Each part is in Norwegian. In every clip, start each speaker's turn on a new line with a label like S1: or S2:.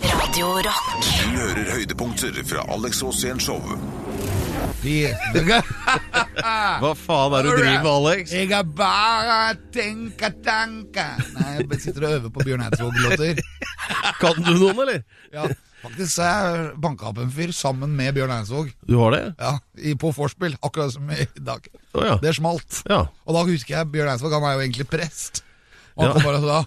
S1: Radio Rock.
S2: Du hører høydepunkter fra Alex Rosén Show.
S3: Vi,
S4: Hva faen er det du driver med, Alex?
S3: jeg er bare tenka tanka Nei, jeg sitter og øver på Bjørn Eidsvåg-låter.
S4: Kan du noen, eller?
S3: Ja, faktisk så har jeg banka opp en fyr sammen med Bjørn Eidsvåg
S4: Du har det?
S3: ja, i- på vorspiel, akkurat som i dag.
S4: Å ja.
S3: Det smalt.
S4: ja.
S3: Og da husker jeg Bjørn Eidsvåg, han er jo egentlig prest. Og
S4: Ja.
S3: han kom bare og sa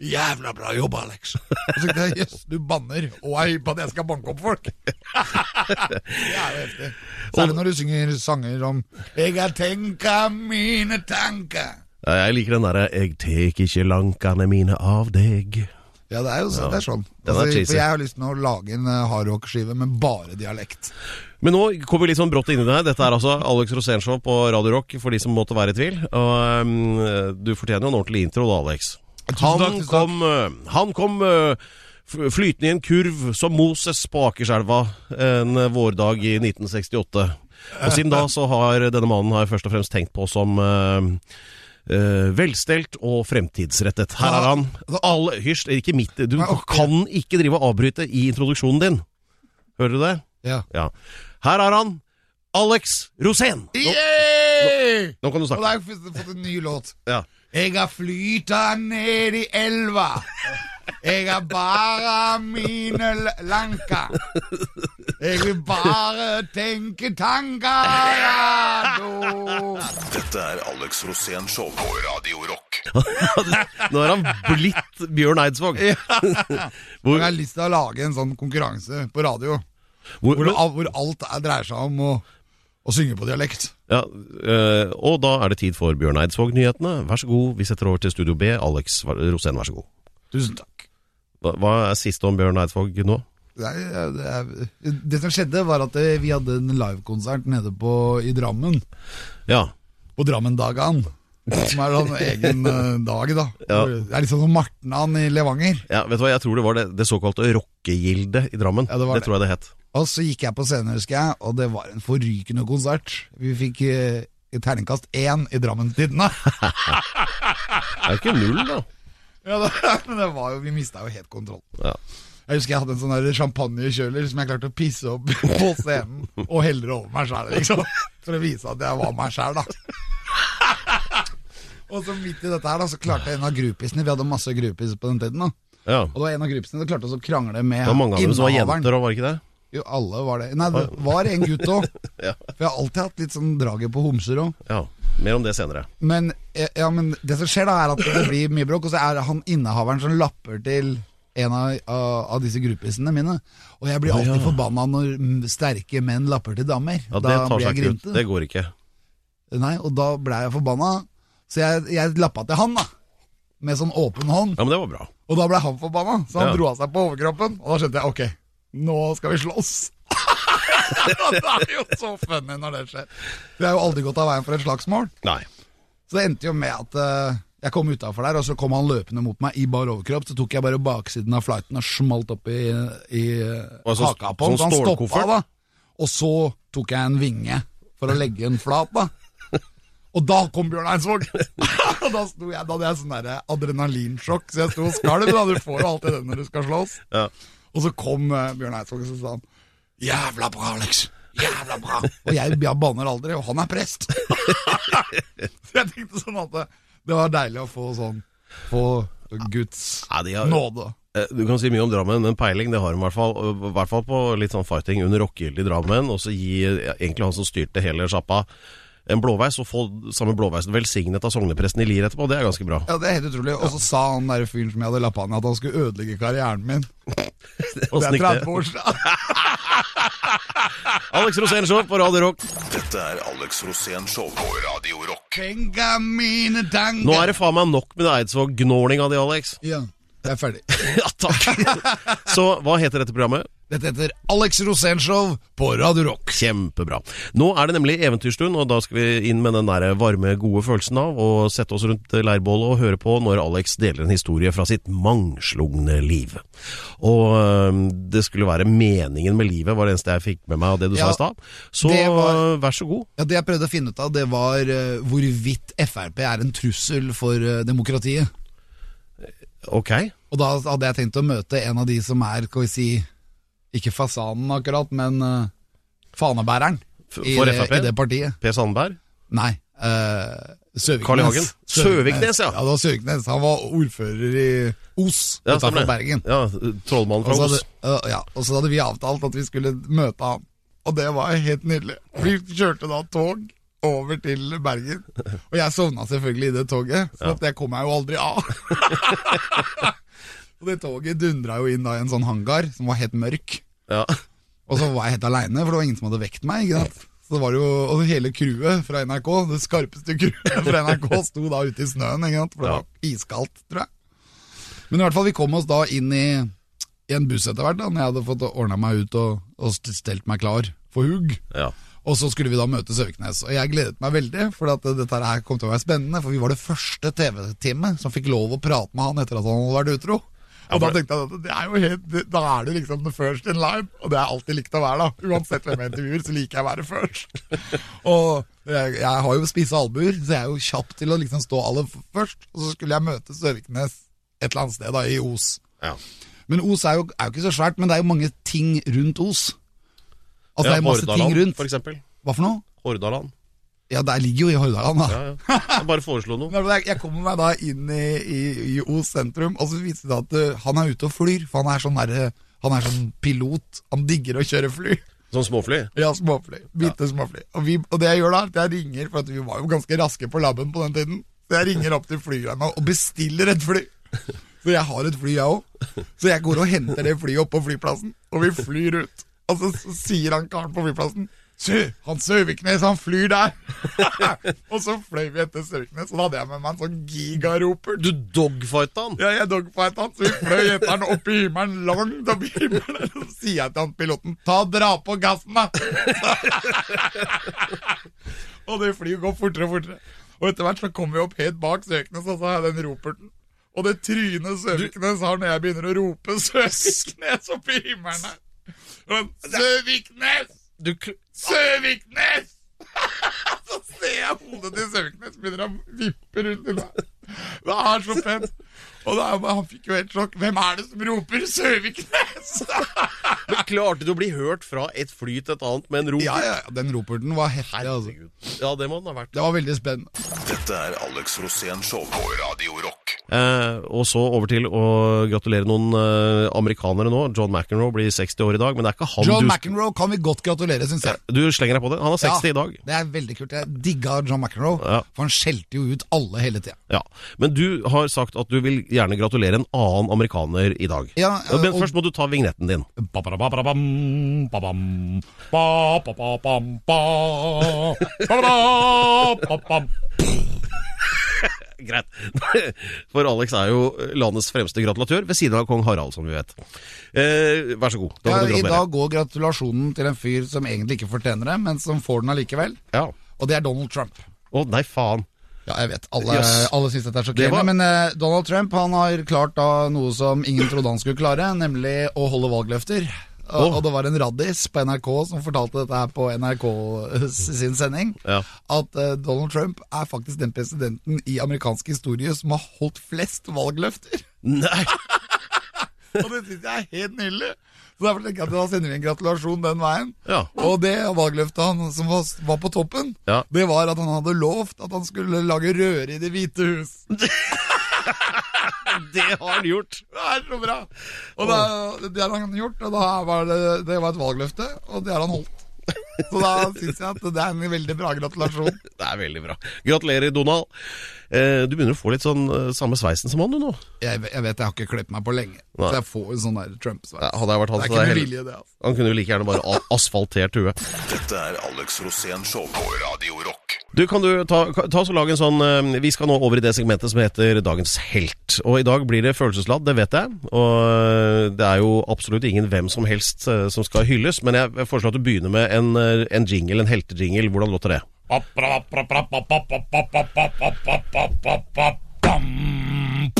S3: Jævla bra jobb, Alex. Og så tenkte jeg jøss, du banner og er hypp på at jeg skal banke opp folk. det er jo heftig. Særlig når du synger sanger om Jeg har tenka mine tanker.
S4: Ja, Jeg liker den derre 'Jeg tek ikke lankene mine av deg'.
S3: Ja, det er jo så, det er sånn.
S4: Den er
S3: Altså,
S4: cheesy.
S3: for jeg har lyst til å lage en eh, hardrock-skive med bare dialekt.
S4: Men nå kommer vi litt sånn brått inn i det her. Dette er altså Alex Rosénshow på Radio Rock, for de som måtte være i tvil. Og ehm, du fortjener jo en ordentlig intro da, Alex. Han
S3: takk, tusen takk.
S4: kom, eh, han kom eh, f- flytende i en kurv som Moses på Akerselva en eh, vårdag i 1968. Og siden da så har denne mannen har jeg først og fremst tenkt på som eh, eh, velstelt og fremtidsrettet. Her er han. Altså, Alle, hysj, ikke mitt. Du
S3: Nei, ok.
S4: kan ikke drive og avbryte i introduksjonen din. Hører du det?
S3: Ja.
S4: Ja. Her har han Alex Rosén. Nå,
S3: Yeah!
S4: nå kan du
S3: Og
S4: snakke.
S3: da har jeg fått- fått en ny låt.
S4: Ja.
S3: Jeg har flyta ned i elva. Jeg har bare mine l- lanka. Jeg vil bare tenke tanker, ja, do.
S2: Dette er Alex Rosén Show på Radio Rock.
S4: Nå er han blitt Bjørn Eidsvåg.
S3: Jeg
S4: Hvor,
S3: har lyst til å lage en sånn konkurranse på radio
S4: hvor,
S3: hvor, det al- hvor alt er, dreier seg om å, å synge på dialekt.
S4: ja, øh, og da er det tid for Bjørn Eidsvåg-nyhetene. Vær så god, vi setter over til Studio B. Alex Rosén, vær så god.
S3: Tusen takk.
S4: Hva, hva er siste om Bjørn Eidsvåg nå?
S3: Nei, ja, det, er, det som skjedde var at eh, vi hadde en livekonsert nede på, i Drammen,
S4: Ja.
S3: på Drammendagan. Som er en egen eh, dag, da.
S4: Ja.
S3: Det er litt sånn som Martnan i Levanger.
S4: ja, vet du hva, jeg tror det var det, det såkalte rockegildet i Drammen.
S3: Ja, det var det.
S4: tror jeg det het.
S3: Og så gikk jeg på scenen, husker jeg, og det var en forrykende konsert. Vi fikk eh, et terningkast én i Drammenstidene.
S4: Det er jo ikke null, da.
S3: ja, det- men det var jo, vi mista jo helt kontroll.
S4: Ja.
S3: Jeg husker jeg hadde en sånn der champagnekjøler som jeg klarte å pisse opp på scenen, og helle det over meg sjæl, liksom. For å vise at jeg var meg sjæl, da. Og så midt i dette her, da, så klarte en av groupiesene Vi hadde masse groupies på den tiden, da.
S4: ja.
S3: Og det var en av groupiesene som klarte også å krangle med
S4: Det var mange av dem som var
S3: innehaveren.
S4: jenter òg, var det ikke det?
S3: Jo, alle var det. Nei, det var en gutt òg.
S4: Ja.
S3: For jeg har alltid hatt litt sånn draget på homser òg.
S4: ja. Mer om det senere.
S3: Men, eh, ja, men det som skjer da er at det blir mye bråk, og så er det han innehaveren som lapper til en av, av, av disse gruppisene mine. Og jeg blir alltid forbanna når mm, sterke menn lapper til damer.
S4: Ja,
S3: da
S4: det tar
S3: blir jeg
S4: seg ikke ut.
S3: grinte.
S4: Det går ikke.
S3: Nei, og da ble jeg forbanna. Så jeg, jeg lappa til han, da. Med sånn åpen hånd.
S4: Ja, men det var bra.
S3: Og da ble han forbanna, så han
S4: Ja.
S3: dro av seg på overkroppen. Og da skjønte jeg ok, nå skal vi slåss. det er jo så funny når det skjer. Vi har jo aldri gått av veien for et slagsmål.
S4: Nei.
S3: Så det endte jo med at eh, jeg kom utafor der, og så kom han løpende mot meg i bar overkropp. Så tok jeg bare baksiden av flighten og smalt opp i, i eh,
S4: Og så-
S3: haka på ham.
S4: sånn
S3: Så han stoppa,
S4: stålkoffert?
S3: da. Og så tok jeg en vinge for å legge en flat, da. Og da kom Bjørn Eidsvåg! Og da, sto jeg, da hadde jeg sånn der adrenalinsjokk, så jeg sto og skalv. da. Du får jo alltid det når du skal slåss.
S4: Ja.
S3: Og så kom eh, Bjørn Eidsvåg, og så sa han Jævla bra, Alex! Jævla bra! Og jeg, jeg banner aldri, og han er prest! så jeg tenkte sånn at det, det var deilig å få sånn Få Guds
S4: Nei, de har-
S3: nåde.
S4: Eh, Du kan si mye om Drammen, men peiling det har hun i hvert fall. Og I hvert fall på litt sånn fighting under rockegildet i Drammen. Og så gi ja, egentlig han som styrte hele sjappa, en blåveis, og få samme blåveisen velsignet av sognepresten i Lier etterpå. Det er ganske bra.
S3: Ja, Det er helt utrolig. Og så sa han der fyren som jeg hadde lappa ned, at han skulle ødelegge karrieren min. Og det
S4: Åssen
S3: er
S4: gikk
S3: 30 år siden.
S4: Alex Rosén Show på Radio Rock.
S2: Dette er Alex Rosén Show på Radio Rock.
S3: Tenka mine tanker
S4: Nå er det faen meg nok med det Eidsvåg-gnåling av de, Alex.
S3: Ja, jeg er ferdig.
S4: Ja, takk. Så hva heter dette programmet?
S3: Dette heter Alex Rosénshow på Radio Rock.
S4: Kjempebra. Nå er det nemlig eventyrstund, og da skal vi inn med den der varme, gode følelsen av å sette oss rundt leirbålet og høre på når Alex deler en historie fra sitt mangslungne liv. Og øhm, det skulle være meningen med livet, var det eneste jeg fikk med meg av det du
S3: Ja,
S4: sa i stad. Så
S3: det var-
S4: vær så god.
S3: Ja, Det jeg prøvde å finne ut av, det var eh, hvorvidt Frp er en trussel for eh, demokratiet.
S4: Ok.
S3: Og da hadde jeg tenkt å møte en av de som er, skal vi si, ikke fasanen akkurat, men eh, fanebæreren
S4: For,
S3: i,
S4: for
S3: det-
S4: Frp?
S3: i det partiet.
S4: Per Sandberg?
S3: Nei. eh, Søviknes.
S4: Carl I. Hagen. Søviknes, ja.
S3: Ja, det var Søviknes. Han var ordfører i Os
S4: Ja, stemmer
S3: utenfor
S4: det.
S3: Bergen.
S4: Ja,
S3: Og
S4: Trollmannen fra
S3: så
S4: Os.
S3: hadde, øh, ja, og så hadde vi avtalt at vi skulle møte han. Og det var helt nydelig. Vi kjørte da tog over til Bergen. Og jeg sovna selvfølgelig i det toget, så at det kom jeg jo aldri av. og det toget dundra jo inn da i en sånn hangar som var helt mørk.
S4: Ja.
S3: Og så var jeg helt aleine, for det var ingen som hadde vekt meg. ikke sant? Så det var jo, Og hele crewet fra NRK, det skarpeste crewet fra NRK, sto da ute i snøen, ikke sant? for det
S4: Ja.
S3: var iskaldt, tror jeg. Men i hvert fall, vi kom oss da inn i, i en buss etter hvert, da når jeg hadde fått ordna meg ut og, og st- stelt meg klar for hugg.
S4: ja.
S3: Og så skulle vi da møte Søviknes. Og jeg gledet meg veldig, for at dette her kom til å være spennende. For vi var det første TV-teamet som fikk lov å prate med han etter at han hadde vært utro. Og
S4: Ja,
S3: da
S4: for-
S3: tenkte jeg at det er jo helt, da er du liksom the first in line, og det har jeg alltid likt å være da. Uansett hvem jeg intervjuer, så liker jeg å være først. Og jeg, jeg har jo spisse albuer, så jeg er jo kjapp til å liksom stå aller f- først. Og så skulle jeg møte Søviknes et eller annet sted da, i Os.
S4: ja.
S3: Men Os er jo, er jo ikke så svært, men det er jo mange ting rundt Os. Altså det
S4: Ja,
S3: er masse ting
S4: Hordaland,
S3: rundt.
S4: for eksempel.
S3: Hva for noe?
S4: Hordaland.
S3: Ja, der ligger jo i Hordaland, da.
S4: Ja, ja. Jeg bare foreslo noe.
S3: Men Jeg, jeg kommer meg da inn i, i, i Os sentrum, og så viser det at eh, han er ute og flyr. For han er sånn derre Han er sånn pilot. Han digger å kjøre fly.
S4: Sånn småfly.
S3: Ja, småfly. Bitte småfly. Og, vi, og det jeg gjør da, er at jeg ringer, for at vi var jo ganske raske på labben på den tiden. Så jeg ringer opp til flyet og bestiller et fly. Så jeg har et fly, jeg òg. Så jeg går og henter det flyet opp på flyplassen, og vi flyr ut. Og så, så sier han karen på flyplassen Sø, han Søviknes, han flyr der! og så fløy vi etter Søviknes, og da hadde jeg med meg en sånn gigaroper.
S4: Du dogfighta han!
S3: Ja, jeg dogfighta han, så vi fløy etter han opp i himmelen, langt opp i himmelen. Så sier jeg til han piloten, ta og dra på gassen, da! og det flyet går fortere og fortere. Og etter hvert så kommer vi opp helt bak Søknes, og så har jeg den roperten. Og det trynet Søviknes har når jeg begynner å rope Søviknes opp i himmelen her. Og, Søviknes!
S4: Du kl-
S3: Søviknes! så ser jeg hodet til Søviknes begynner å vippe rundt i meg. Det er så fett. Og da, er jeg bare- han fikk jo helt sjokk. Hvem er det som roper Søviknes?
S4: Men klarte du å bli hørt fra et fly til et annet med en ro?
S3: ja, ja, den roperten var heftig, altså.
S4: Ja, det må den ha vært.
S3: Det var veldig spennende.
S2: Dette er Alex Rosén Show på Radio Rock.
S4: Eh, og så over til å gratulere noen eh, amerikanere nå. John McEnroe blir 60 år i dag, men det er ikke han
S3: John
S4: du
S3: McEnroe kan vi godt gratulere, syns jeg.
S4: Du slenger deg på det. Han er 60 i dag.
S3: Det er veldig kult. Jeg digga John McEnroe,
S4: Ja.
S3: for han skjelte jo ut alle hele tida.
S4: Ja. Men du har sagt at du vil gjerne gratulere en annen amerikaner i dag.
S3: Ja, eh,
S4: men
S3: og-
S4: først må du ta vignetten din.
S1: Ba-ba-da-ba-ba-bam, ba-bam. Ba-ba-ba-bam, ba. Ba-ba-da-ba-bam.
S4: Greit. For Alex er jo landets fremste gratulatør, ved siden av kong Harald, som vi vet. Eh, vær så god.
S3: Ja,
S4: Da kan du
S3: I
S4: gratulere.
S3: dag går gratulasjonen til en fyr som egentlig ikke fortjener det, men som får den allikevel.
S4: Ja.
S3: Og det er Donald Trump.
S4: Å, nei, faen.
S3: Ja, jeg vet. Alle,
S4: Jøss.
S3: alle syns dette er
S4: Det
S3: sjokkerende.
S4: var-
S3: Men eh, Donald Trump han har klart da noe som ingen trodde han skulle klare, nemlig å holde valgløfter. Og,
S4: Åh.
S3: og det var en raddis på NRK som fortalte dette her på NRK sin sending.
S4: Ja.
S3: At eh, Donald Trump er faktisk den presidenten i amerikansk historie som har holdt flest valgløfter.
S4: Nei.
S3: Og det syns jeg er helt nydelig. Så derfor tenker jeg at da sender vi en gratulasjon den veien.
S4: Ja.
S3: Og det valgløftet han som var, var på toppen,
S4: Ja.
S3: det var at han hadde lovt at han skulle lage røre i Det hvite hus.
S4: Det har han gjort.
S3: Det er så bra! Og da, det har han gjort, og da var det, det var et valgløfte, og det har han holdt. Så da syns jeg at det er en veldig bra gratulasjon.
S4: Det er veldig bra. Gratulerer, Donald. Eh, du begynner å få litt sånn eh, samme sveisen som han, du nå.
S3: Jeg, jeg vet jeg har ikke klippet meg på lenge,
S4: Nei.
S3: så jeg får jo sånn der Trump-sveis.
S4: Ja, hadde jeg vært han,
S3: det er
S4: så
S3: ikke med
S4: hadde jeg heller-
S3: vilje, det. altså.
S4: Han kunne jo like gjerne bare a- asfaltert huet.
S2: Dette er Alex Rosén Show på Radio Rock.
S4: Du, kan du ta, ka- ta oss og lage en sånn eh, Vi skal nå over i det segmentet som heter Dagens helt. Og i dag blir det følelsesladd, det vet jeg. Og eh, det er jo absolutt ingen hvem som helst eh, som skal hylles. Men jeg jeg foreslår at du begynner med en, eh, en jingle, en heltejingle. Hvordan låter det?
S1: Ba-ba-da-ba-ba-ba-ba-ba-ba-ba-ba-ba-bam.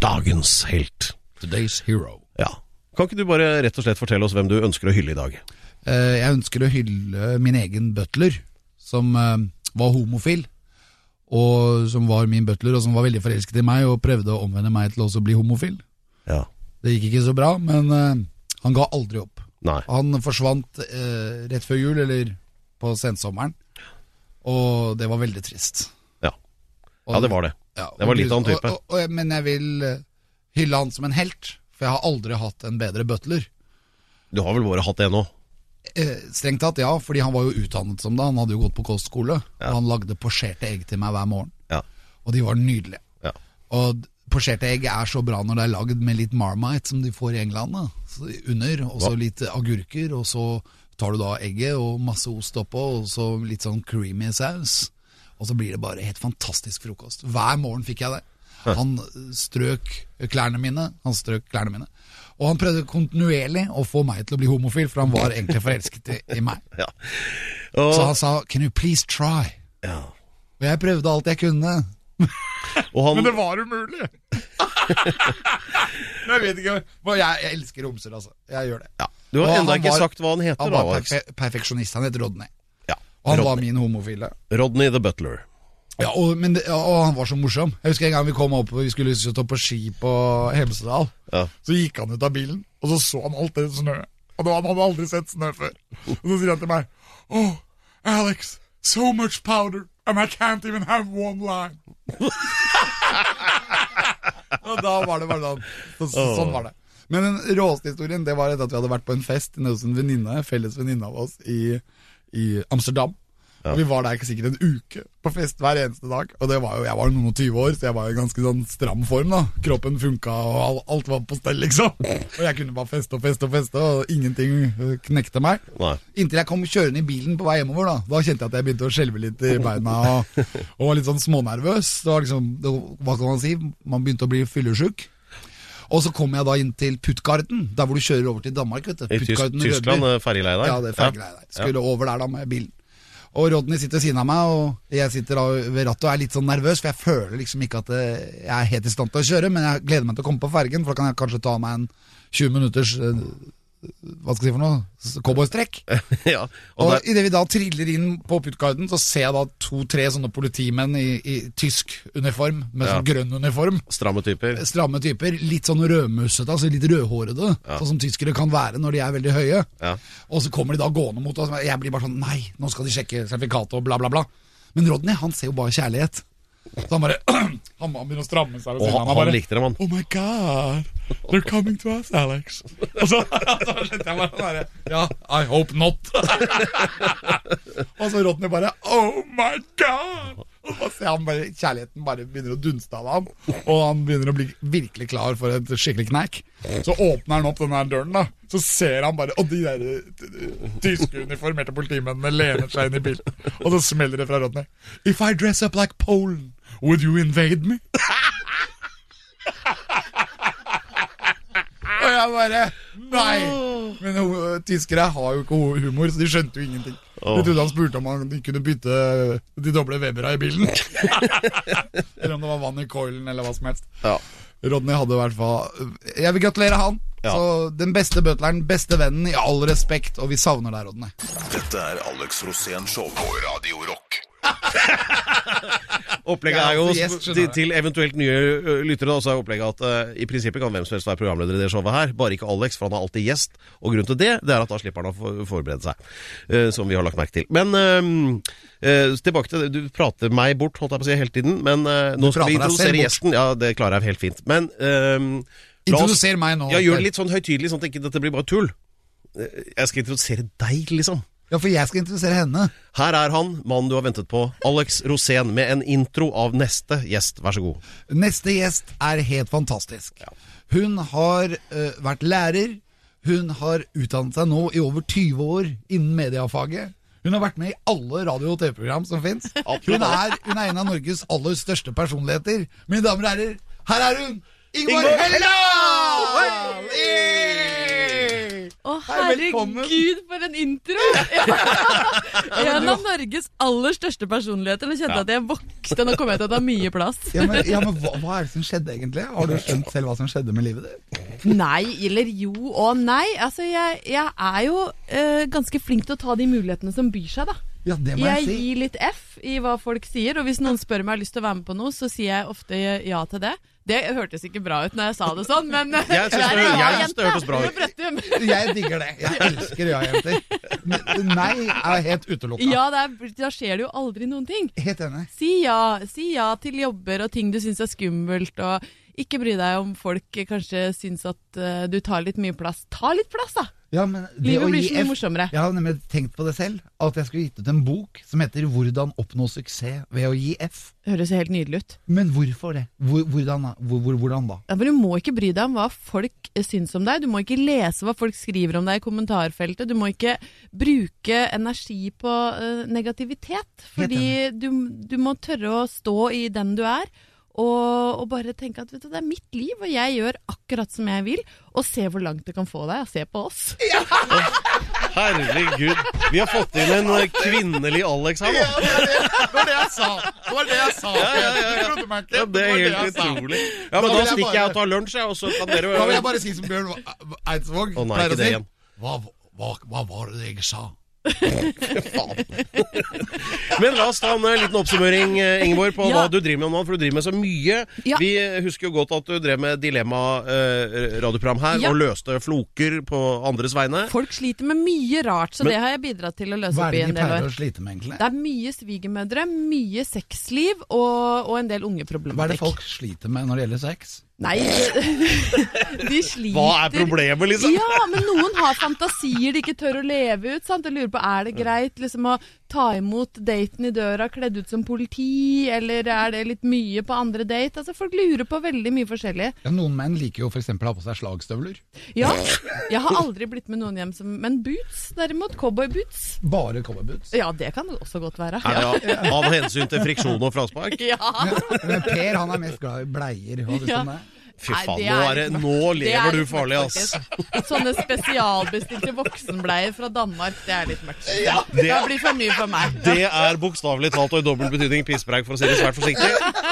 S4: Dagens helt.
S3: Today's hero.
S4: Ja. Kan ikke du bare rett og slett fortelle oss hvem du ønsker å hylle i dag?
S3: Eh, Jeg ønsker å hylle min egen butler, som eh, var homofil. og som var min butler, og som var veldig forelsket i meg og prøvde å omvende meg til også å bli homofil.
S4: Ja.
S3: Det gikk ikke så bra, men eh, han ga aldri opp.
S4: Nei.
S3: Han forsvant eh, rett før jul, eller på sensommeren, og det var veldig trist.
S4: Ja. ja, det var det.
S3: Ja,
S4: Det var litt av en type.
S3: Og, og, og, jeg- men jeg vil eh, hylle han som en helt, for jeg har aldri hatt en bedre butler.
S4: Du har vel bare hatt det nå?
S3: Eh, strengt tatt ja, fordi han var jo utdannet som det. Han hadde jo gått på kostskole, og han lagde posjerte egg til meg hver morgen.
S4: Ja.
S3: Og de var nydelige.
S4: Ja.
S3: Og d- posjerte egg er så bra når det er lagd med litt marmite, som de får i England. Da. Så under, og så litt agurker, og så tar du da egget og masse ost oppå, og så litt sånn creamy saus. Og så blir det bare helt fantastisk frokost. Hver morgen fikk jeg det. Han eh, strøk klærne mine, han strøk klærne mine. Og han prøvde kontinuerlig å få meg til å bli homofil, for han var egentlig forelsket i, i meg.
S4: Ja.
S3: Så
S4: Og,
S3: han sa 'can you please try'?
S4: ja.
S3: Og jeg prøvde alt jeg kunne.
S4: og han
S3: Men det var umulig! Men jeg vet ikke hva jeg, jeg elsker homser, altså. Jeg gjør det.
S4: ja. Du
S3: Og
S4: har ennå
S3: han
S4: ikke
S3: var-
S4: sagt hva han heter,
S3: Han
S4: da,
S3: var
S4: Alex.
S3: perfe perfeksjonist. Han het Rodney.
S4: Ja.
S3: Og han var
S4: Rodney.
S3: min homofile.
S4: Rodney the Butler.
S3: Ja, og, men, det- ja, og han var så morsom. Jeg husker en gang vi kom opp og vi skulle liksom stå på ski på Hemsedal.
S4: Ja.
S3: Så gikk han ut av bilen, og så så han alt det snøet. Og det var, han hadde aldri sett snø før. Og så sier han til meg Oh, Alex, so much powder, and I can't even have one line. og da var det bare sånn. Så, så, sånn var det. Men den råeste historien det var etter at vi hadde vært på en fest nede hos en venninne, felles venninne av oss i, i Amsterdam. Og Vi var der ikke sikkert en uke på fest hver eneste dag. Og det var jo, Jeg var noen og 20 år, så jeg var i ganske sånn stram form. da Kroppen funka, og all- alt var på stell, liksom. Og jeg kunne bare feste og feste og feste, og ingenting øh, knekte meg.
S4: Nei.
S3: Inntil jeg kom kjørende i bilen på vei hjemover. Da Da kjente jeg at jeg begynte å skjelve litt i beina og, og var litt sånn smånervøs. Det var liksom, det, hva kan man si? Man begynte å bli fyllesyk. Og så kom jeg da inn til Puttgarden, der hvor du kjører over til Danmark. vet du
S4: I Tysk,
S3: Puttgarden i
S4: Tyskland,
S3: Rødby.
S4: eh, ferjeleie der?
S3: Ja, det er fergeleie der. Skulle over der da med bilen. Og Rodney sitter ved siden av meg, og jeg sitter da ved rattet og er litt sånn nervøs, for jeg føler liksom ikke at eh, jeg er helt i stand til å kjøre, men jeg gleder meg til å komme på fergen, for da kan jeg kanskje ta meg en 20 minutters eh, Hva skal jeg si for noe? S- Cowboystrekk.
S4: ja.
S3: Og,
S4: Og
S3: og
S4: der,
S3: idet vi da triller inn på puttgarden, så ser jeg da to-tre sånne politimenn i, i tysk uniform, med sånn grønn uniform.
S4: stramme typer.
S3: Stramme typer, litt sånn rødmusete, altså litt rødhårede, sånn som tyskere kan være når de er veldig høye.
S4: Ja.
S3: Og så kommer de da gående mot oss, og jeg blir bare sånn Nei, nå skal de sjekke sertifikatet og bla, bla, bla. Men Rodney, han ser jo bare kjærlighet. Så han bare Han han begynner å stramme seg. ved
S4: Og
S3: siden av,
S4: han, han
S3: bare,
S4: likte dem, han.
S3: Oh my god, they're coming to us, Alex. Og så, så skjønte jeg bare sånn derre, Ja, I hope not. og så Rodney bare Oh my god. Og så ser han bare kjærligheten bare begynner å dunste av ham, og han begynner å bli virkelig klar for et skikkelig knack. Så åpner han opp den der døren, da. Så ser han bare Og de der eh, tyske uniformerte politimennene lener seg inn i bilen. Og så smeller det fra Rodney. If I dress up like Polen, would you invade me? Og jeg bare Nei! Men ho- tyskere har jo ikke ho- humor, så de skjønte jo ingenting. De trodde han spurte om han de kunne bytte de doble Webera i bilen. eller om det var vann i coilen, eller hva som helst.
S4: Ja.
S3: Rodney hadde i hvert fall Jeg vil gratulere han.
S4: Ja.
S3: Så Den beste butleren, beste vennen, i all respekt, og vi savner deg, Rodney.
S2: Dette er Alex Rosén Show på Radio Rock.
S4: Opplegget
S3: Ja,
S4: er jo
S3: altså, gjest, skjønner
S4: til,
S3: jeg.
S4: til eventuelt nye ø, lyttere, da, så er opplegget at eh, i prinsippet kan hvem som helst være programleder i det showet her, bare ikke Alex, for han er alltid gjest. Og grunnen til det, det er at da slipper han å for- forberede seg, eh, som vi har lagt merke til. Men eh, eh, tilbake til det, du prater meg bort, holdt jeg på å si, hele tiden. Men eh, nå skal vi
S3: prater deg selv
S4: introdusere
S3: bort.
S4: gjesten. Ja, det klarer jeg helt fint. Men eh, la oss-
S3: Introduser meg nå.
S4: Ja, gjør det litt sånn høytidelig, sånn at ikke dette blir bare tull. Eh, Jeg skal introdusere deg, liksom.
S3: Ja, for jeg skal introdusere henne.
S4: Her er han, mannen du har ventet på, Alex Rosén, med en intro av neste gjest. Vær så god.
S3: Neste gjest er helt fantastisk. Hun har eh, vært lærer. Hun har utdannet seg nå i over 20 år innen mediefaget. Hun har vært med i alle radio- og TV-program som fins. Hun, er- hun er en av Norges aller største personligheter. Mine damer og herrer, her er hun! Ingvar
S4: Ingvar
S3: Helland!
S5: Å,
S3: Hei, velkommen.
S5: herregud, for en intro! en av Norges aller største personligheter. Nå kjente jeg at jeg vokste. Nå kommer jeg til å ta mye plass.
S3: Ja, men, ja, men hva, hva er det som skjedde egentlig? Har du skjønt selv hva som skjedde med livet ditt?
S5: Nei, eller jo og nei. Altså, jeg, jeg er jo eh, ganske flink til å ta de mulighetene som byr seg, da.
S3: Ja, det må jeg,
S5: Jeg
S3: si.
S5: gir litt F i hva folk sier, og hvis noen spør om jeg har lyst til å være med på noe, så sier jeg ofte ja til det. Det hørtes ikke bra ut når jeg sa det sånn, men
S4: Jeg synes det-
S5: Der er
S4: jeg
S5: ja,
S4: synes det
S5: jente.
S4: hørtes bra ut.
S5: Du er Brøttum.
S3: Jeg digger det. Jeg elsker ja-jenter. Men Nei er helt utelukka.
S5: Ja, det er, da skjer det jo aldri noen ting.
S3: Helt enig.
S5: Si ja. Si ja til jobber og ting du syns er skummelt, og ikke bry deg om folk eh, kanskje syns at eh, du tar litt mye plass. Ta litt plass, da!
S3: Ja, men det
S5: Livet
S3: å
S5: blir
S3: gi
S5: så mye
S3: F-
S5: morsommere.
S3: Jeg hadde nemlig tenkt på det selv, at jeg skulle gitt ut en bok som heter 'Hvordan oppnå suksess ved å gi F'.
S5: Høres helt nydelig ut.
S3: Men hvorfor det? Hvor, hvordan, da? Hvor, hvor, hvordan da?
S5: Ja, men Du må ikke bry deg om hva folk eh, syns om deg. Du må ikke lese hva folk skriver om deg i kommentarfeltet. Du må ikke bruke energi på eh, negativitet.
S3: Helt
S5: Fordi du, du må tørre å stå i den du er. Og, og bare tenke at vet du, det er mitt liv, og jeg gjør akkurat som jeg vil. Og se hvor langt det kan få deg. Se på oss.
S4: Herregud. Vi har fått inn en eh, kvinnelig Alex her nå.
S3: Det var det jeg sa! Det var det jeg sa.
S4: ja.
S3: Du trodde meg ikke.
S4: Ja, det
S3: var
S4: er
S3: det jeg
S4: helt
S3: sa.
S4: utrolig. Ja,
S3: Da
S4: men da
S3: vil jeg
S4: stikker jeg
S3: bare-
S4: og tar lunsj, jeg, og så kan
S3: Da vil jeg
S4: dere
S3: bare si som Bjørn Eidsvåg
S4: Å, nei,
S3: pleier
S4: ikke
S3: å
S4: det
S3: si.
S4: igjen.
S3: Hva, hva, hva var det jeg sa?
S4: Men la oss ta en eh, liten oppsummering, eh, Ingeborg, på hva
S5: Ja.
S4: du driver med om dagen. For du driver med så mye.
S5: Ja.
S4: Vi eh, husker jo godt at du drev med Dilemma-radioprogram her,
S5: Ja.
S4: og løste floker på andres vegne.
S5: Folk sliter med mye rart, så
S4: Men-
S5: det har jeg bidratt til å løse
S3: Hva
S5: opp
S3: er
S5: i
S3: det
S5: en
S3: de
S5: del
S3: pleier
S5: år.
S3: å slite med, egentlig?
S5: Det er mye svigermødre, mye sexliv og, og en del ungeproblematikk.
S3: Hva er det folk sliter med når det gjelder sex?
S5: Nei, de sliter
S4: Hva er problemet, liksom?
S5: Ja, men noen har fantasier de ikke tør å leve ut. sant? Jeg lurer på, Er det greit liksom å ta imot daten i døra kledd ut som politi, eller er det litt mye på andre date? Altså, Folk lurer på veldig mye forskjellig.
S3: Ja, noen menn liker jo f.eks. å ha på seg slagstøvler.
S5: Ja, jeg har aldri blitt med noen hjem som Men boots, derimot. Cowboyboots.
S3: Bare cowboyboots.
S5: Ja, det kan det også godt være.
S4: Er det av- av hensyn til friksjon og fraspark?
S5: Ja.
S3: Men Per han er mest glad i bleier. Hva synes du om det?
S4: Fy
S5: Nei,
S4: faen,
S5: det
S4: nå,
S5: er
S4: er det,
S5: litt
S4: nå
S5: Det er
S4: lever du
S5: litt
S4: farlig,
S5: mørkt,
S4: ass.
S5: faktisk. Sånne spesialbestilte voksenbleier fra Danmark, det er litt mørkt. det...
S4: det-
S5: blir for mye for meg.
S4: Det er bokstavelig talt og i dobbelt betydning pisspreik, for å si det svært forsiktig.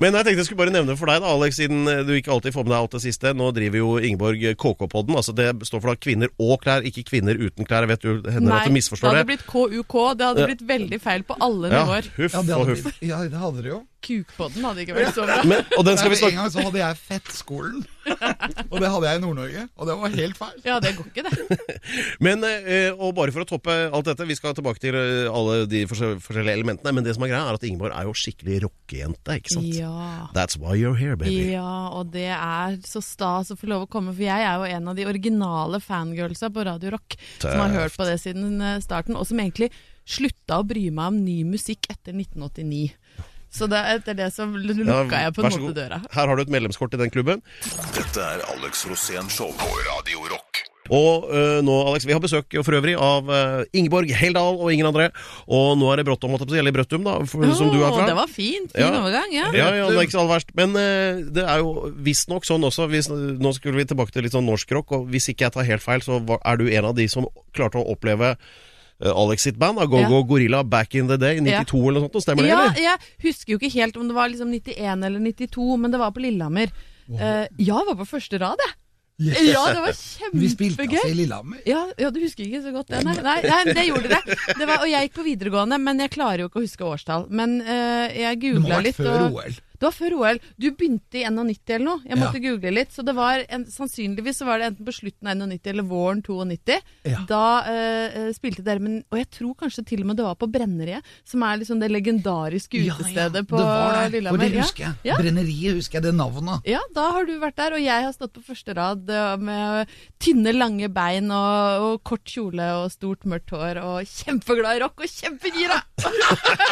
S4: Men jeg tenkte jeg skulle bare nevne for deg, da, Alex, siden eh, du ikke alltid får med deg alt det siste. Nå driver jo Ingeborg KK-podden. altså Det står for da Kvinner og klær, ikke Kvinner uten klær. Jeg vet du hender at du
S5: det
S4: misforstår
S5: hadde
S4: det.
S5: blitt KUK. Det hadde blitt veldig feil på alle
S4: Ja,
S5: nivåer.
S4: huff
S3: Ja, det
S4: og
S3: hadde,
S4: huff.
S3: blitt- ja, det hadde det jo.
S5: Kukpodden hadde ikke vært så bra.
S4: Men, og den
S3: Nei,
S4: skal vi
S3: men en
S4: snakke
S3: gang så hadde jeg Fettskolen, og det hadde jeg i Nord-Norge. Og det var helt feil.
S5: Ja, det går ikke, det.
S4: Men, eh, og bare for å toppe alt dette, vi skal tilbake til eh, alle de forskjell- forskjellige elementene. Men det som er greia, er at Ingeborg er jo skikkelig rockejente, ikke sant?
S5: Ja.
S4: That's why you're here, baby.
S5: Ja, og det er så stas å få lov å komme, for jeg er jo en av de originale fangirlsa på Radio Rock som har hørt på det siden eh, starten, og som egentlig slutta å bry meg om ny musikk etter 1989. Så det, etter det så lukka jeg på
S4: vær
S5: en
S4: så
S5: måte
S4: god.
S5: døra.
S4: Her har du et medlemskort i den klubben.
S2: Dette er Alex Rosén Show på Radio Rock.
S4: Og øh, nå, Alex, vi har besøk for øvrig av øh, Ingeborg Heldal og ingen andre. Og nå er det Brottom, holdt jeg på å si, eller Brøttum, da, for, som du er
S5: Åh,
S4: fra.
S5: Det var fint. Fin
S4: Ja.
S5: overgang, ja.
S4: Ja, ja, det er ikke så aller verst. Men øh, det er jo visstnok sånn også hvis, Nå skulle vi tilbake til litt sånn norsk rock, og hvis ikke jeg tar helt feil, så var, er du en av de som klarte å oppleve øh, Alex sitt band, da, Go
S5: Ja.
S4: Go Gorilla, back in the day, 92
S5: Ja.
S4: eller noe sånt, stemmer det,
S5: Ja,
S4: eller?
S5: jeg husker jo ikke helt om det var liksom 91 eller 92, men det var på Lillehammer. Eh, ja, jeg var på første rad, jeg. Ja, det var
S3: Vi spilte
S5: kjempegøy.
S3: altså i Lillehammer.
S5: Ja, ja, du husker ikke så godt det? Nei, nei, nei det gjorde det. det var, og jeg gikk på videregående, men jeg klarer jo ikke å huske årstall. Men eh, jeg
S3: Det må ha
S5: googla
S3: vært
S5: litt.
S3: før
S5: og-
S3: OL.
S5: Det var før OL. Du begynte i 91 eller noe. Jeg måtte google litt. Så det var en, sannsynligvis så var det enten på slutten av 91 eller våren 92.
S3: Ja.
S5: Da eh, eh, spilte dere, men, og jeg tror kanskje til og med det var på Brenneriet, som er liksom det legendariske utestedet på
S3: det var det. For
S5: Lillehammer.
S3: det husker jeg.
S5: Ja.
S3: Brenneriet husker jeg det navnet.
S5: Ja, da har du vært der, og jeg har stått på første rad eh, med tynne, lange bein og, og kort kjole og stort, mørkt hår og kjempeglad i rock og kjempegira!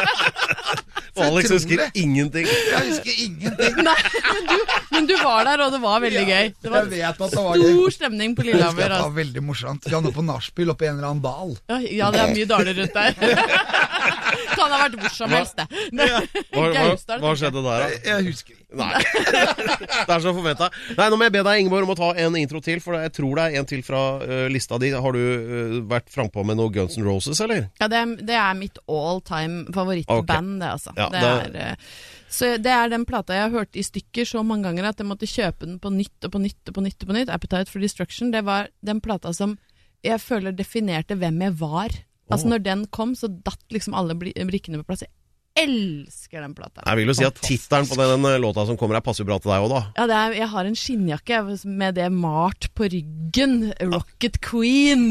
S4: Og Alex husker
S3: utrolig.
S4: ingenting.
S3: Jeg husker ingenting.
S5: Nei, men du, men du var der, og det var veldig gøy. Det
S3: Jeg
S5: var
S3: vet at det var gøy.
S5: stor stemning på
S3: Jeg husker at
S5: Lillehammer.
S3: det
S5: Altså.
S3: var veldig morsomt. Vi hadde på nachspiel oppe i en eller annen dal.
S5: Ja, Ja, det er mye daler rundt der. Kan ha vært hvor som helst, det. Nei,
S4: Hva, hva,
S5: Gausdal,
S4: hva
S5: tenker jeg.
S4: skjedde der, da?
S3: Jeg husker ikke.
S4: Nei. det er så forventa. Nei, nå må jeg be deg, Ingeborg, om å ta en intro til, for jeg tror det er en til fra eh, lista di. Har du eh, vært frampå med noe Guns N' Roses, eller?
S5: Ja, det, er- det er mitt all time favorittband, det altså.
S4: Ja,
S5: det,
S4: da-
S5: er, eh, så det er den plata jeg har hørt i stykker så mange ganger at jeg måtte kjøpe den på nytt og på nytt og på nytt. og på nytt Appetite for Destruction, det var den plata som jeg føler definerte hvem jeg var Altså Når den kom, så datt liksom alle bli- brikkene på plass. Jeg elsker den plata.
S4: Jeg vil jo si at tittelen på den eh, låta som kommer her, passer jo bra til deg òg, da.
S5: Ja, det er, jeg har en skinnjakke med det malt på ryggen.
S4: Ah.
S5: Rocket Queen.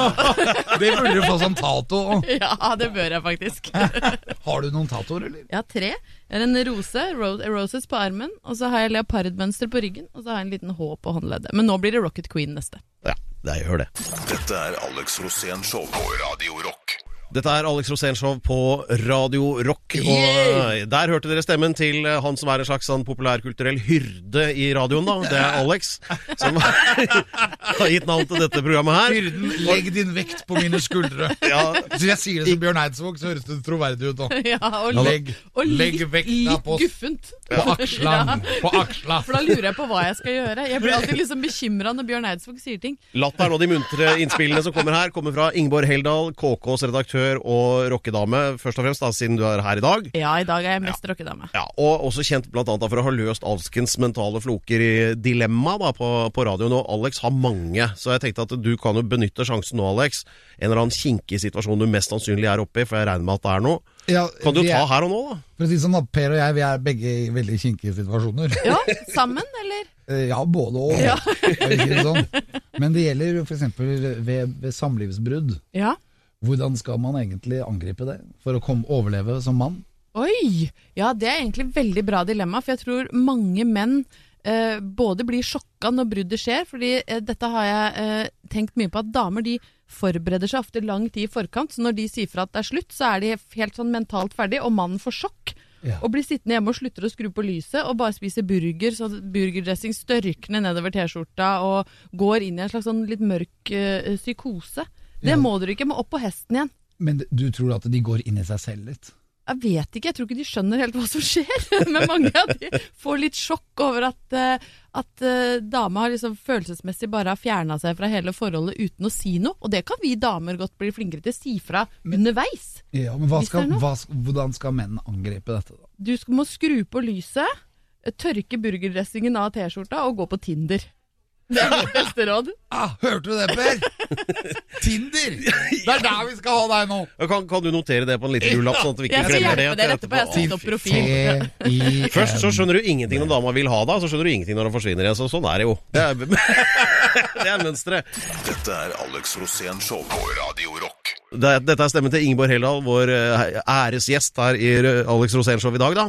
S3: Det burde du få som tato. også.
S5: Ja, det bør jeg faktisk.
S3: Har du noen tatoer, eller?
S5: Jeg har tre. Jeg har en rose, ro- roses på armen, og så har jeg leopardmønster på ryggen, og så har jeg en liten H på håndleddet. Men nå blir det Rocket Queen neste.
S4: Ja, det gjør det.
S2: Dette er Alex Rosén Show på Radio Rock.
S4: Dette er Alex Rosénshow på Radio Rock. Og eh, der hørte dere stemmen til eh, han som er en slags sånn populærkulturell hyrde i radioen, da. Det er Alex. Som har gitt navn til dette programmet her.
S3: Byrden, legg din vekt på mine skuldre.
S4: Ja,
S3: Så jeg sier det som Bjørn Eidsvåg, så høres det troverdig ut òg.
S5: Ja, og, litt-
S3: Legg,
S5: og
S3: legg
S5: litt-
S3: vekta
S5: litt
S3: på,
S5: guffent.
S3: på akslan. På aksla.
S5: For da lurer jeg på hva jeg skal gjøre. Jeg blir alltid liksom bekymra når Bjørn Eidsvåg sier ting.
S4: Latteren og de muntre innspillene som kommer her, kommer fra Ingeborg Heldal, KKs redaktør og rockedame, først og fremst, da, siden du er her i dag.
S5: Ja, i dag er jeg mest rockedame.
S4: Ja, og også kjent blant annet da for å ha løst alskens mentale floker i Dilemma da, på, på radioen. Og Alex har mange, så jeg tenkte at du kan jo benytte sjansen nå, Alex. En eller annen kinkig situasjon du mest sannsynlig er oppe i, for jeg regner med at det er noe.
S3: Ja,
S4: Kan du
S3: vi
S4: ta
S3: er,
S4: her og nå, da?
S3: for å si det sånn, da, Per og jeg vi er begge i veldig kinkige situasjoner.
S5: Ja, sammen, eller?
S3: Eh, Ja, både og.
S5: Ja.
S3: Jeg vil si det sånn. Men det gjelder f.eks. Ved, ved samlivsbrudd.
S5: Ja.
S3: Hvordan skal man egentlig angripe det for å komme, overleve som mann?
S5: Oi! Ja, det er egentlig veldig bra dilemma, for jeg tror mange menn eh, både blir sjokka når bruddet skjer, fordi eh, dette har jeg eh, tenkt mye på, at damer de forbereder seg ofte lang tid i forkant, så når de sier fra at det er slutt, så er de helt sånn mentalt ferdig, og mannen får sjokk.
S3: Ja.
S5: Og blir sittende hjemme og slutter å skru på lyset og bare spiser burger, så burgerdressing størkner nedover T-skjorta og går inn i en slags sånn litt mørk eh, psykose. Det
S3: Ja.
S5: må dere ikke, må opp på hesten igjen.
S3: Men du tror at de går inn i seg selv litt?
S5: Jeg vet ikke, jeg tror ikke de skjønner helt hva som skjer. Men mange av de får litt sjokk over at, eh, at eh, dama har liksom følelsesmessig bare har fjerna seg fra hele forholdet uten å si noe. Og det kan vi damer godt bli flinkere til. Si fra underveis.
S3: Ja, men hva
S5: Hvis
S3: skal,
S5: det er noe.
S3: hva, sk- hvordan skal menn angripe dette, da?
S5: Du skal- må skru på lyset, eh, tørke burgerdressingen av T-skjorta og gå på Tinder. Det er mitt beste råd.
S3: Ah, hørte du det, Per? Tinder! Det er der vi skal ha deg nå!
S4: Kan, kan du notere det på en liten gullapp, sånn at vi ikke
S5: Jeg skal
S4: glemmer det?
S5: hjelpe dere etterpå. Jeg har satt opp profil.
S3: T-I-N.
S4: Først så skjønner du ingenting når dama vil ha deg, og så skjønner du ingenting når hun forsvinner igjen. Så sånn er det jo. Det er, det er mønsteret.
S2: Dette er Alex Rosén Show på Radio Rock.
S4: Det, dette er stemmen til Ingeborg Heldal, vår eh, æresgjest her i eh, Alex Rosénshow i dag. da.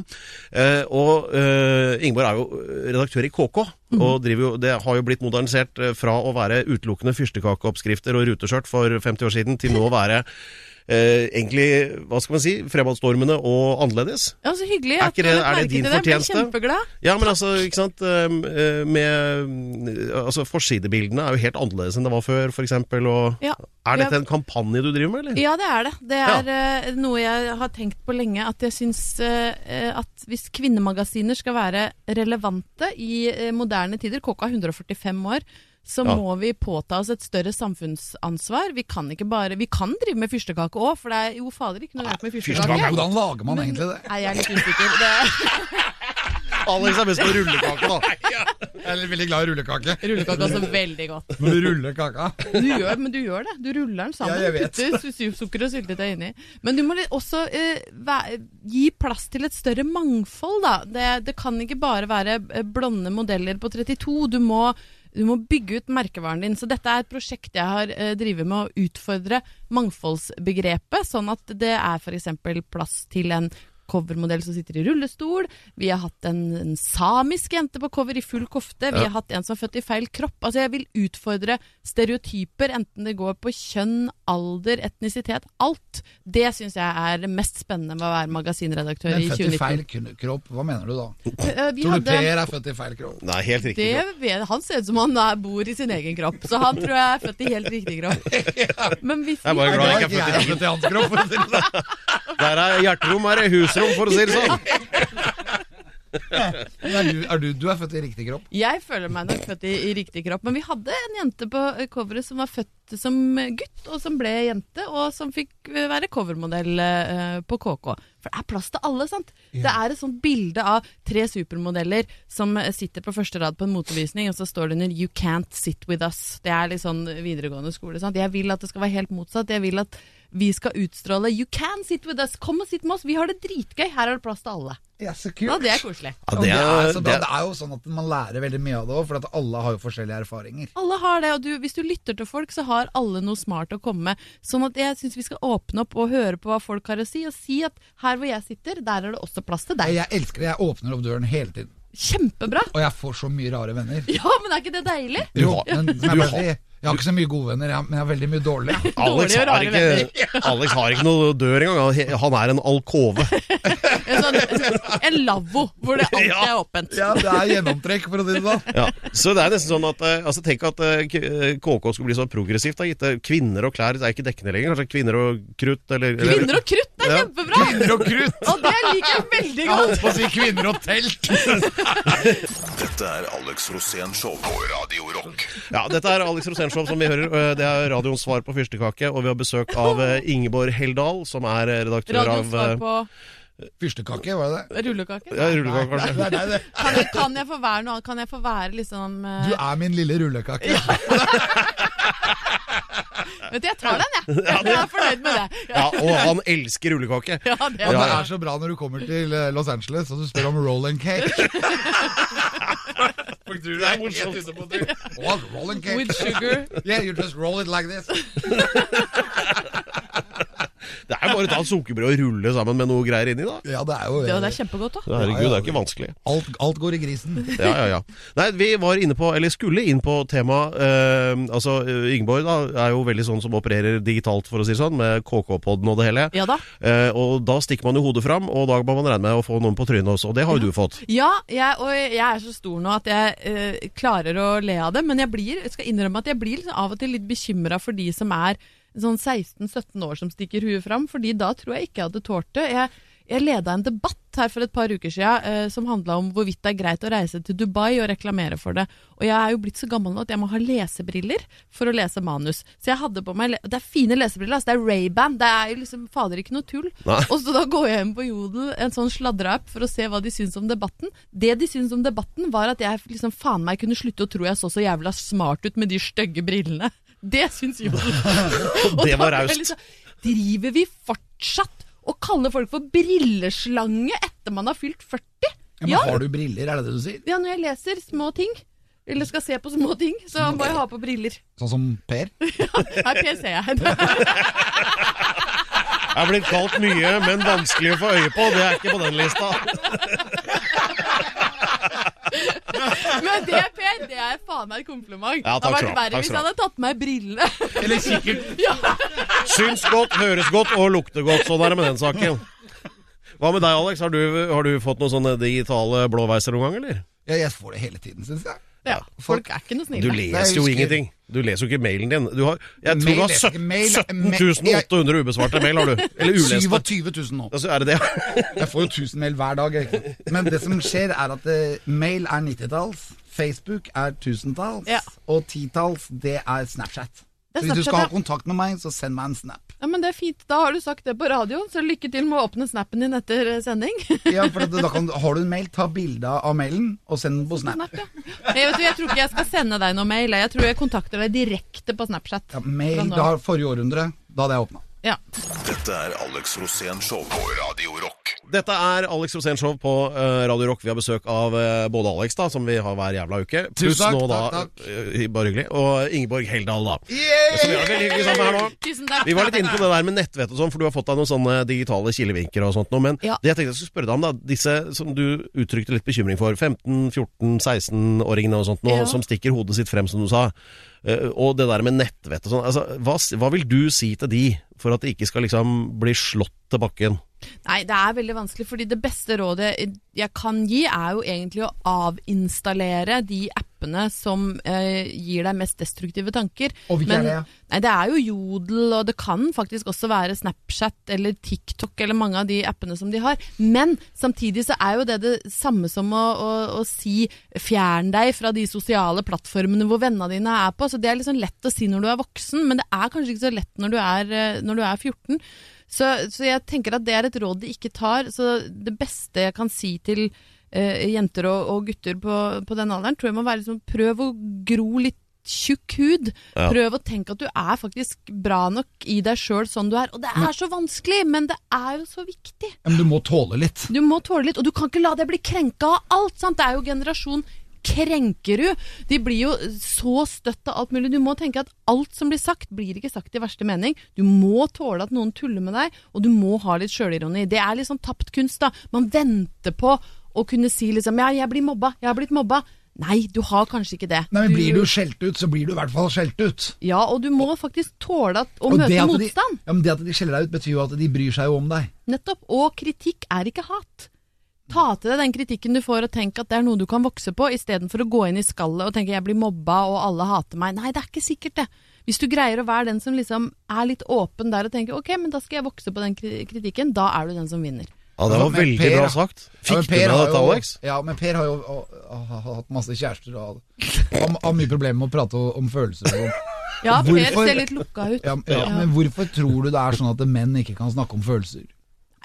S4: Eh, og eh, Ingeborg er jo redaktør i KK, og driver jo, det har jo blitt modernisert eh, fra å være utelukkende fyrstekakeoppskrifter og ruteskjørt for 50 år siden, til nå å være eh, egentlig, hva skal man si, fremadstormende og annerledes.
S5: Ja, så hyggelig.
S4: Er
S5: at
S4: ikke
S5: du
S4: det-
S5: la
S4: er det din
S5: merke til Jeg ble
S4: fortjeneste?
S5: kjempeglad.
S4: Ja, men altså, ikke sant um, eh, Med Altså, forsidebildene er jo helt annerledes enn det var før, f.eks. Og
S5: Ja.
S4: er dette
S5: Ja.
S4: en kampanje du driver med, eller?
S5: Ja, det er det. Det er eh, noe jeg har tenkt på lenge. At jeg syns eh, at hvis kvinnemagasiner skal være relevante i eh, moderne tider, KK er 145 år, så
S4: Ja.
S5: må vi påta oss et større samfunnsansvar. Vi kan ikke bare Vi kan drive med fyrstekake òg, for det er jo fader ikke noe gærent med fyrstekake.
S3: Hvordan lager man egentlig det?
S5: Nei, jeg er litt usikker. Det,
S4: Alex er best på rullekake, da.
S3: Jeg er veldig glad i rullekake.
S5: rullekake er også veldig godt.
S3: Når du ruller kaka
S5: Du gjør, men du gjør det. Du ruller den sammen.
S3: Ja, jeg
S5: Du
S3: vet.
S5: putter su- su- sukker og syltetøy inni. Men du må litt også eh, væ- gi plass til et større mangfold, da. Det, det kan ikke bare være eh, blonde modeller på 32. Du må, du må bygge ut merkevaren din. Så dette er et prosjekt jeg har eh, drevet med å utfordre mangfoldsbegrepet, sånn at det er f.eks. plass til en covermodell som sitter i rullestol. Vi har hatt en, en samisk jente på cover i full kofte. Vi har hatt en som er født i feil kropp. Altså, jeg vil utfordre stereotyper, enten det går på kjønn, alder, etnisitet. Alt. Det syns jeg er det mest spennende med å være magasinredaktør
S3: Men
S5: i
S3: født i feil
S5: 2019.
S3: kun- kropp, hva mener du da?
S5: Eh,
S3: Tror
S5: Vi
S3: du
S5: hadde
S3: Per er født i feil kropp?
S4: Nei, helt riktig.
S5: det, vet- han ser ut som han er- bor i sin egen kropp, så han tror jeg er født i helt riktig kropp. Men hvis
S4: Jeg
S5: vi
S4: er bare
S5: hadde-
S4: glad
S3: Ja,
S4: jeg
S3: ikke jeg er født i hans kropp. for å si det sånn.
S4: Der er hjerterom, er det husrom, for å si det sånn.
S3: Men Er du, sånn. er du, du er født i riktig kropp?
S5: Jeg føler meg nok født i, i riktig kropp, men vi hadde en jente på eh, coveret som var født som gutt, og som ble jente, og som fikk eh, være covermodell eh, på KK. For det er plass til alle, sant? Det er et sånt bilde av tre supermodeller som eh, sitter på første rad på en motevisning, og så står det under 'You can't sit with us'. Det er litt sånn videregående skole. sant? Jeg vil at det skal være helt motsatt. Jeg vil at vi skal utstråle 'You can sit with us', kom og sitt med oss, vi har det dritgøy, her er det plass til alle.
S3: Ja, så
S5: Ja,
S3: kult.
S5: det er koselig.
S4: Ja,
S3: det, er, så
S4: det
S3: bra.
S4: er-
S3: det er jo sånn at man lærer veldig mye av det òg, for at alle har jo forskjellige erfaringer.
S5: Alle har det, og du, hvis du lytter til folk, så har alle noe smart å komme med. Sånn at jeg syns vi skal åpne opp og høre på hva folk har å si, og si at her hvor jeg sitter, der er det også plass til
S3: Nei,
S5: deg.
S3: Jeg elsker det. Jeg åpner opp døren hele tiden.
S5: Kjempebra!
S3: Og jeg får så mye rare venner.
S5: Ja, men er ikke det deilig?
S3: Jo, men, men jeg,
S4: du
S3: er veldig, jeg har ikke så mye gode venner, jeg, men jeg har veldig mye dårlige.
S4: Alex
S5: Dårlige og
S4: har,
S5: rare
S4: ikke, Alex har ikke noe dør engang. Han he- Han er en alkove.
S5: En, sånn, en lavvo hvor det alltid er åpent.
S3: Ja, det er gjennomtrekk, for å si det sånn.
S4: Ja. Så det er nesten sånn at eh, altså, Tenk at eh, K- eh, KK skulle bli så progressivt. Da, gitt det. Kvinner og klær er ikke dekkende lenger. Kanskje kvinner og krutt eller
S5: Kvinner og krutt, det er
S4: Ja.
S5: kjempebra!
S3: Kvinner og krutt!
S5: Og det liker jeg veldig
S3: Jeg
S5: godt.
S3: holdt på å si kvinner og telt!
S2: Dette er Alex Rosén Show på Radio Rock.
S4: Ja, dette er Alex Rosenshov som vi hører. eh, Det er radioens svar på fyrstekake. Og vi har besøk av eh, Ingeborg Heldal, som er eh, redaktør
S5: Radioen
S4: av
S5: svar
S4: eh,
S5: på
S3: Fyrstekake, var det det?
S5: rullekake.
S4: ja, rullekake,
S3: Nei,
S4: kanskje.
S3: nei, nei, det.
S5: Kan jeg, kan jeg få være noe annet? Kan jeg få være liksom eh,
S3: Du er min lille rullekake.
S5: Vet du, jeg tar den, jeg. Jeg er fornøyd med det. Ja,
S4: Ja, og han elsker rullekake.
S5: det
S3: Og
S5: er
S3: det
S5: bra.
S3: er så bra når du kommer til eh, Los Angeles og du spør om roll and cake. Folk tror du er helt ute på tur. What? Roll and
S5: With
S3: cake?
S5: sugar.
S3: Yeah, you just roll it like this.
S4: Det er jo bare å ta et sukkerbrød og rulle sammen med noe greier inni, da.
S3: Ja, det er jo
S5: Det, det er kjempegodt òg.
S4: Herregud, det er ikke vanskelig.
S3: Alt, alt går i grisen.
S4: Ja, ja, ja. Nei, vi var inne på, eller skulle inn på temaet eh, Altså, eh, Ingeborg da, er jo veldig sånn som opererer digitalt, for å si det sånn, med KK-podden og det hele.
S5: Ja da.
S4: Eh, og da stikker man jo hodet fram, og da må man regne med å få noen på trynet også. Og det har jo du fått.
S5: Ja, jeg, og jeg er så stor nå at jeg eh, klarer å le av det, men jeg, blir, jeg skal innrømme at jeg blir liksom av og til litt bekymra for de som er sånn 16-17 år som stikker huet fram, fordi da tror jeg ikke jeg hadde tålt det. Jeg, jeg leda en debatt her for et par uker siden eh, som handla om hvorvidt det er greit å reise til Dubai og reklamere for det. Og jeg er jo blitt så gammel nå at jeg må ha lesebriller for å lese manus. Så jeg hadde på meg le Det er fine lesebriller, altså. Det er Ray-Ban. Det er jo liksom fader ikke noe tull.
S4: Nei.
S5: Og så da går jeg inn på Jodel, en sånn sladreapp, for å se hva de syns om debatten. Det de syns om debatten, var at jeg liksom faen meg kunne slutte å tro jeg så så jævla smart ut med de stygge brillene. Det syns Jodel. Og
S4: Det
S5: da
S4: var
S5: ble jeg
S4: raust.
S5: liksom, Driver vi fortsatt og kaller folk for brilleslange etter man har fylt 40?
S3: Ja, men
S5: Ja,
S3: har du briller, er det det du sier?
S5: ja, når jeg leser små ting, eller skal se på små ting, så må jeg ha på briller.
S3: Sånn som Per?
S5: Her PC jeg.
S4: Jeg er blitt kalt mye, men vanskelig å få øye på. Det er ikke på den lista.
S5: Men det, Per, det er faen meg et kompliment.
S4: Ja,
S5: det
S4: takk skal du
S5: hadde vært
S4: ha. Takk
S5: verre hvis
S4: skal du
S5: han hadde tatt med meg brillene.
S3: Eller sikkert
S5: Ja.
S4: Syns godt, høres godt og lukter godt. Sånn er det med den saken. Hva med deg, Alex? Har du, har du fått noen sånne digitale blåveiser noen gang, eller?
S3: ja, Jeg får det hele tiden, syns jeg.
S5: ja. Folk er ikke noe
S4: Du
S5: snille.
S4: leser jo
S3: husker-
S4: ingenting. Du leser jo ikke mailen din. Du har, jeg tror
S3: Mail
S4: du har
S3: leser ikke. Mail-
S4: 17 800 ubesvarte mail, har du. Eller uleste.
S3: 27 000 nå.
S4: Altså, er det det?
S3: Jeg får jo 1000 mail hver dag. jeg. Men det som skjer, er at eh, mail er 90-talls, Facebook er 1000-talls,
S5: Ja.
S3: og 10-talls, det er Snapchat.
S5: Det
S3: Så
S5: er
S3: hvis du
S5: Snapchat,
S3: skal ha
S5: ja.
S3: kontakt med meg, så send meg en snap.
S5: Ja, men det er fint. Da har du sagt det på radioen, så lykke til med å åpne snappen din etter eh, sending.
S3: Ja, for at da kan, Har du en mail, ta bilde av mailen og send den på snap.
S5: Snap, ja. Jeg, vet, du, jeg tror ikke jeg skal sende deg noe mail. jeg. Jeg tror jeg kontakter deg direkte på Snapchat.
S3: Ja, mail
S5: Fra nå
S3: da,
S5: av.
S3: forrige århundre, da hadde jeg åpna.
S5: Ja.
S2: Dette er Alex Rosén Show på Radio Rock.
S4: Dette er Alex Rosén Show på eh, Radio Rock. Vi har besøk av eh, både Alex, da, som vi har hver jævla uke, pluss
S3: takk,
S4: nå da
S3: takk, takk.
S4: eh, Bare hyggelig. Og Ingeborg Heldal, da.
S3: Yeah!
S4: Som vi har veldig hyggelig sammen her nå.
S5: Tusen takk.
S4: Vi var litt inne på det der med nettvett og sånn, for du har fått deg noen sånne digitale kilevinker og sånt nå. Men
S5: Ja.
S4: det jeg tenkte jeg skulle spørre deg om, da. Disse som du uttrykte litt bekymring for. 15-14-16-åringene og sånt nå,
S5: Ja.
S4: som stikker hodet sitt frem, som du sa. Eh, og det der med nettvett og sånn. Altså, hva, s- hva vil du si til de, for at de ikke skal liksom bli slått til bakken?
S5: Nei, det er veldig vanskelig, fordi det beste rådet jeg kan gi, er jo egentlig å avinstallere de appene som eh, gir deg mest destruktive tanker.
S3: Og hvilke er det?
S5: Nei, det er jo Jodel, og det kan faktisk også være Snapchat eller TikTok eller mange av de appene som de har. Men samtidig så er jo det det samme som å, å, å si fjern deg fra de sosiale plattformene hvor vennene dine er på. Så det er liksom lett å si når du er voksen, men det er kanskje ikke så lett når du er, eh, når du er 14. Så, så jeg tenker at det er et råd de ikke tar. Så det beste jeg kan si til eh, jenter og, og gutter på, på den alderen, tror jeg må være liksom prøv å gro litt tjukk hud.
S4: Ja.
S5: Prøv å tenke at du er faktisk bra nok i deg sjøl sånn du er. Og det er så vanskelig, men det er jo så viktig.
S3: Men du må tåle litt.
S5: Du må tåle litt, og du kan ikke la deg bli krenka av alt. sant? Det er jo generasjon Krenkerud. De blir jo så støtt av alt mulig. Du må tenke at alt som blir sagt, blir ikke sagt i verste mening. Du må tåle at noen tuller med deg, og du må ha litt sjølironi. Det er litt sånn tapt kunst, da. Man venter på å kunne si liksom Ja, jeg blir mobba. Jeg har blitt mobba. Nei, du har kanskje ikke det.
S3: Nei, men Blir du skjelt ut, så blir du i hvert fall skjelt ut.
S5: Ja, og du må faktisk tåle at, å
S3: Og det
S5: møte
S3: at de-
S5: motstand.
S3: Ja, men det at de skjeller deg ut, betyr jo at de bryr seg jo om deg.
S5: Nettopp. Og kritikk er ikke hat. Ta til deg den kritikken du får og tenk at det er noe du kan vokse på, istedenfor å gå inn i skallet og tenke 'jeg blir mobba og alle hater meg'. Nei, det er ikke sikkert det. Hvis du greier å være den som liksom er litt åpen der og tenker 'ok, men da skal jeg vokse på den kri- kritikken', da er du den som vinner.
S4: Ja, det var
S3: Men
S4: veldig
S3: Per,
S4: bra
S3: da.
S4: sagt.
S3: Ja, men
S4: Fikk du
S3: Per
S4: med
S3: har
S4: dette,
S3: jo-
S4: Alex?
S3: Ja, men Per har jo og- og har hatt masse kjærester og har, har mye problemer med å prate om, om følelser. Og,
S5: Ja, Per
S3: Hvorfor-
S5: ser litt lukka ut.
S3: ja, ja, Men hvorfor tror du det er sånn at menn ikke kan snakke om følelser?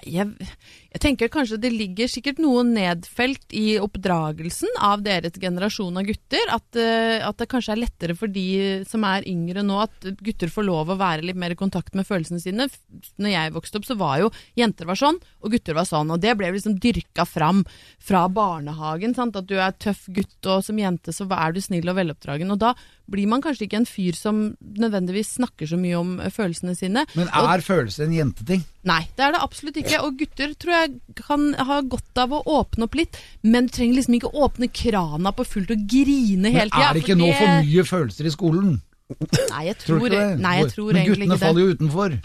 S5: jeg, jeg tenker kanskje det ligger sikkert noe nedfelt i oppdragelsen av deres generasjon av gutter. At, eh, at det kanskje er lettere for de som er yngre nå, at gutter får lov å være litt mer i kontakt med følelsene sine. F- Når jeg vokste opp, så var jo jenter var sånn, og gutter var sånn. Og det ble liksom dyrka fram fra barnehagen. Sant? At du er tøff gutt, og som jente så er du snill og veloppdragen. Og da blir man kanskje ikke en fyr som nødvendigvis snakker så mye om eh, følelsene sine.
S3: Men
S5: Og-
S3: er følelser en jenteting?
S5: Nei, det er det absolutt ikke. Og gutter tror jeg kan ha godt av å åpne opp litt, men du trenger liksom ikke åpne krana på fullt og grine
S3: Men
S5: hele tida.
S3: er det ikke nå for mye følelser i skolen?
S5: Nei, jeg
S3: Tror du
S5: tror,
S3: ikke det?
S5: nei, jeg
S3: Hvor-
S5: tror
S3: men
S5: egentlig
S3: guttene
S5: ikke
S3: faller
S5: det.
S3: jo utenfor.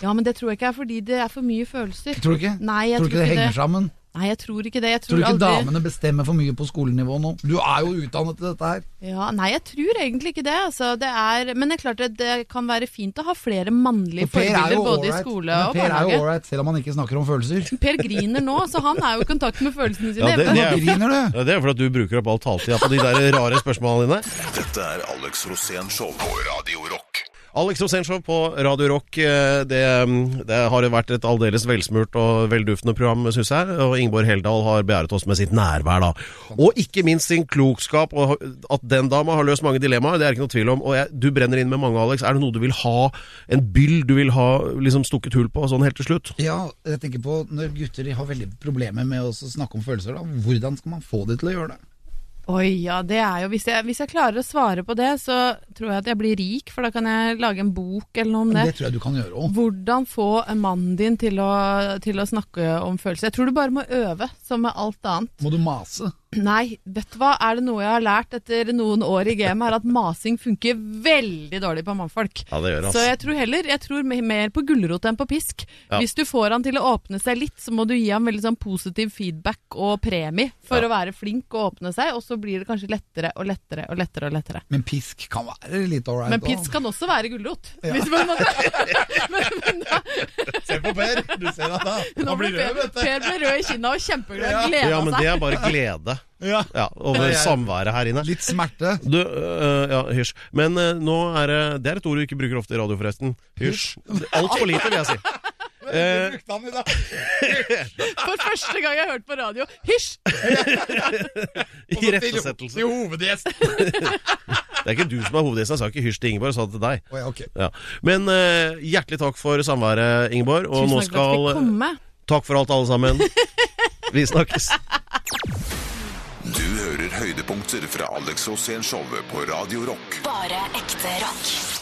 S5: Ja, men det tror jeg ikke er fordi det er for mye følelser.
S3: Tror du ikke?
S5: Nei, jeg
S3: tror du ikke det henger sammen?
S5: Nei, jeg tror ikke det. Jeg
S3: Tror
S5: tror,
S3: du ikke
S5: aldri...
S3: damene bestemmer for mye på skolenivå nå? Du er jo utdannet til dette her.
S5: Ja, nei, jeg tror egentlig ikke det. Altså, det er... Men det er klart det, det kan være fint å ha flere mannlige
S3: Og Per er
S5: forbilder
S3: jo
S5: både i
S3: ålreit.
S5: skole
S3: Men
S5: og
S3: Per er jo
S5: barnehage.
S3: ålreit, selv om han ikke snakker om følelser.
S5: Per griner nå, så han er jo i kontakt med følelsene sine.
S4: Ja, det-
S5: Men-
S3: Nå griner du!
S4: Ja, det er fordi at du bruker opp all taletida på de der rare spørsmålene dine.
S2: Dette er Alex Rosén Show på Radio Rock.
S4: Alex Rosenshov på Radio Rock. eh, Det, mm, det har jo vært et aldeles velsmurt og velduftende program, syns jeg. Og Ingeborg Heldal har beæret oss med sitt nærvær, da. Og ikke minst sin klokskap. Og at den dama har løst mange dilemmaer, det er ikke noe tvil om. Og jeg, du brenner inn med mange, Alex. Er det noe du vil ha? En byll du vil ha liksom stukket hull på, sånn helt til slutt?
S3: Ja, jeg tenker på når gutter har veldig problemer med å snakke om følelser, da, hvordan skal man få de til å gjøre det?
S5: Oi, ja, det er jo hvis jeg, hvis jeg klarer å svare på det, så tror jeg at jeg blir rik, for da kan jeg lage en bok eller noe om
S3: Men
S5: det.
S3: det tror jeg du kan gjøre òg.
S5: Hvordan få mannen din til å, til å snakke om følelser? Jeg tror du bare må øve, som med alt annet.
S3: Må du mase?
S5: Nei, vet du hva, er det noe jeg har lært etter noen år i gamet, er at masing funker veldig dårlig på mannfolk.
S4: Ja, det gjør det,
S5: Så
S4: altså.
S5: jeg tror heller jeg tror me- mer på gulrot enn på pisk.
S4: Ja.
S5: Hvis du får han til å åpne seg litt, så må du gi ham veldig sånn positiv feedback og premie for å være flink og åpne seg, og så blir det kanskje lettere og lettere og lettere. og lettere.
S3: Men pisk kan være litt ålreit.
S5: Men pisk kan også være gulrot. Hvis man men, men da,
S3: Se på Per, du ser han da.
S5: nå ble per, per ble rød i kinna og kjempeglad og gleda
S4: Ja, men
S5: seg.
S4: det er bare glede
S3: Ja.
S4: ja, over
S3: Ja, jeg-
S4: samværet her inne.
S3: Litt smerte.
S4: Du, øh, ja, hysj. Men øh, nå er det Det er et ord du ikke bruker ofte i radio, forresten. Hysj. Altfor lite, vil jeg si. Eh,
S3: Brukte han i dag.
S5: For første gang jeg har hørt på radio. Hysj!
S4: I rettesettelse.
S3: Til hovedgjest.
S4: Det er ikke du som er hovedgjesten. Jeg sa ikke hysj til Ingeborg, jeg sa det til deg.
S3: Å ja, ok.
S4: Ja. Men øh, hjertelig takk for samværet, Ingeborg. Og
S5: Tusen
S4: nå
S5: takk for at jeg
S4: skal eh,
S5: fikk komme.
S4: Takk for alt, alle sammen. Vi snakkes.
S2: Du hører høydepunkter fra Alex Rosén Showet på Radio Rock.
S6: Bare ekte rock.